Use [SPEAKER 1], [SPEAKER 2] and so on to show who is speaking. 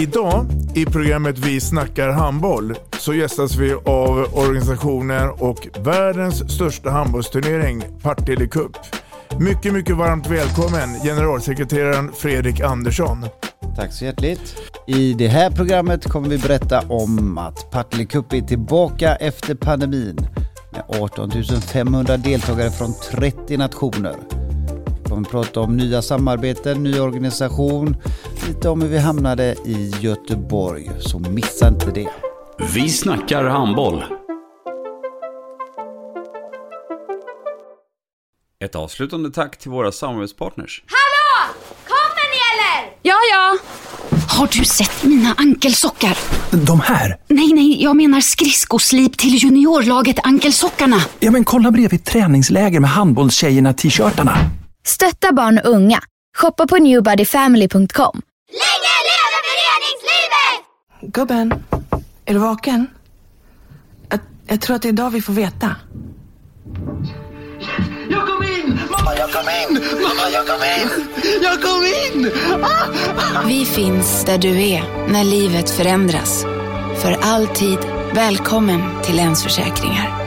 [SPEAKER 1] Idag i programmet Vi snackar handboll så gästas vi av organisationen och världens största handbollsturnering, Partille Cup. Mycket, mycket varmt välkommen generalsekreteraren Fredrik Andersson.
[SPEAKER 2] Tack så hjärtligt. I det här programmet kommer vi berätta om att Partille Cup är tillbaka efter pandemin med 18 500 deltagare från 30 nationer. Vi kommer prata om nya samarbeten, ny organisation, lite om hur vi hamnade i Göteborg, så missa inte det.
[SPEAKER 3] Vi snackar handboll. Ett avslutande tack till våra samarbetspartners.
[SPEAKER 4] Hallå! Kommer ni eller?
[SPEAKER 5] Ja, ja. Har du sett mina ankelsockar?
[SPEAKER 6] De här?
[SPEAKER 5] Nej, nej, jag menar skridskoslip till juniorlaget Ankelsockarna.
[SPEAKER 6] Ja, men kolla bredvid träningsläger med handbollstjejerna-t-shirtarna.
[SPEAKER 7] Stötta barn och unga. Shoppa på newbodyfamily.com.
[SPEAKER 4] Länge leve föreningslivet!
[SPEAKER 8] Gubben, är du vaken? Jag, jag tror att det är idag vi får veta.
[SPEAKER 9] Jag kom in! Mamma, jag kom in! Mamma, jag kom in! Jag kom in! Ah!
[SPEAKER 5] Vi finns där du är när livet förändras. För alltid välkommen till Länsförsäkringar.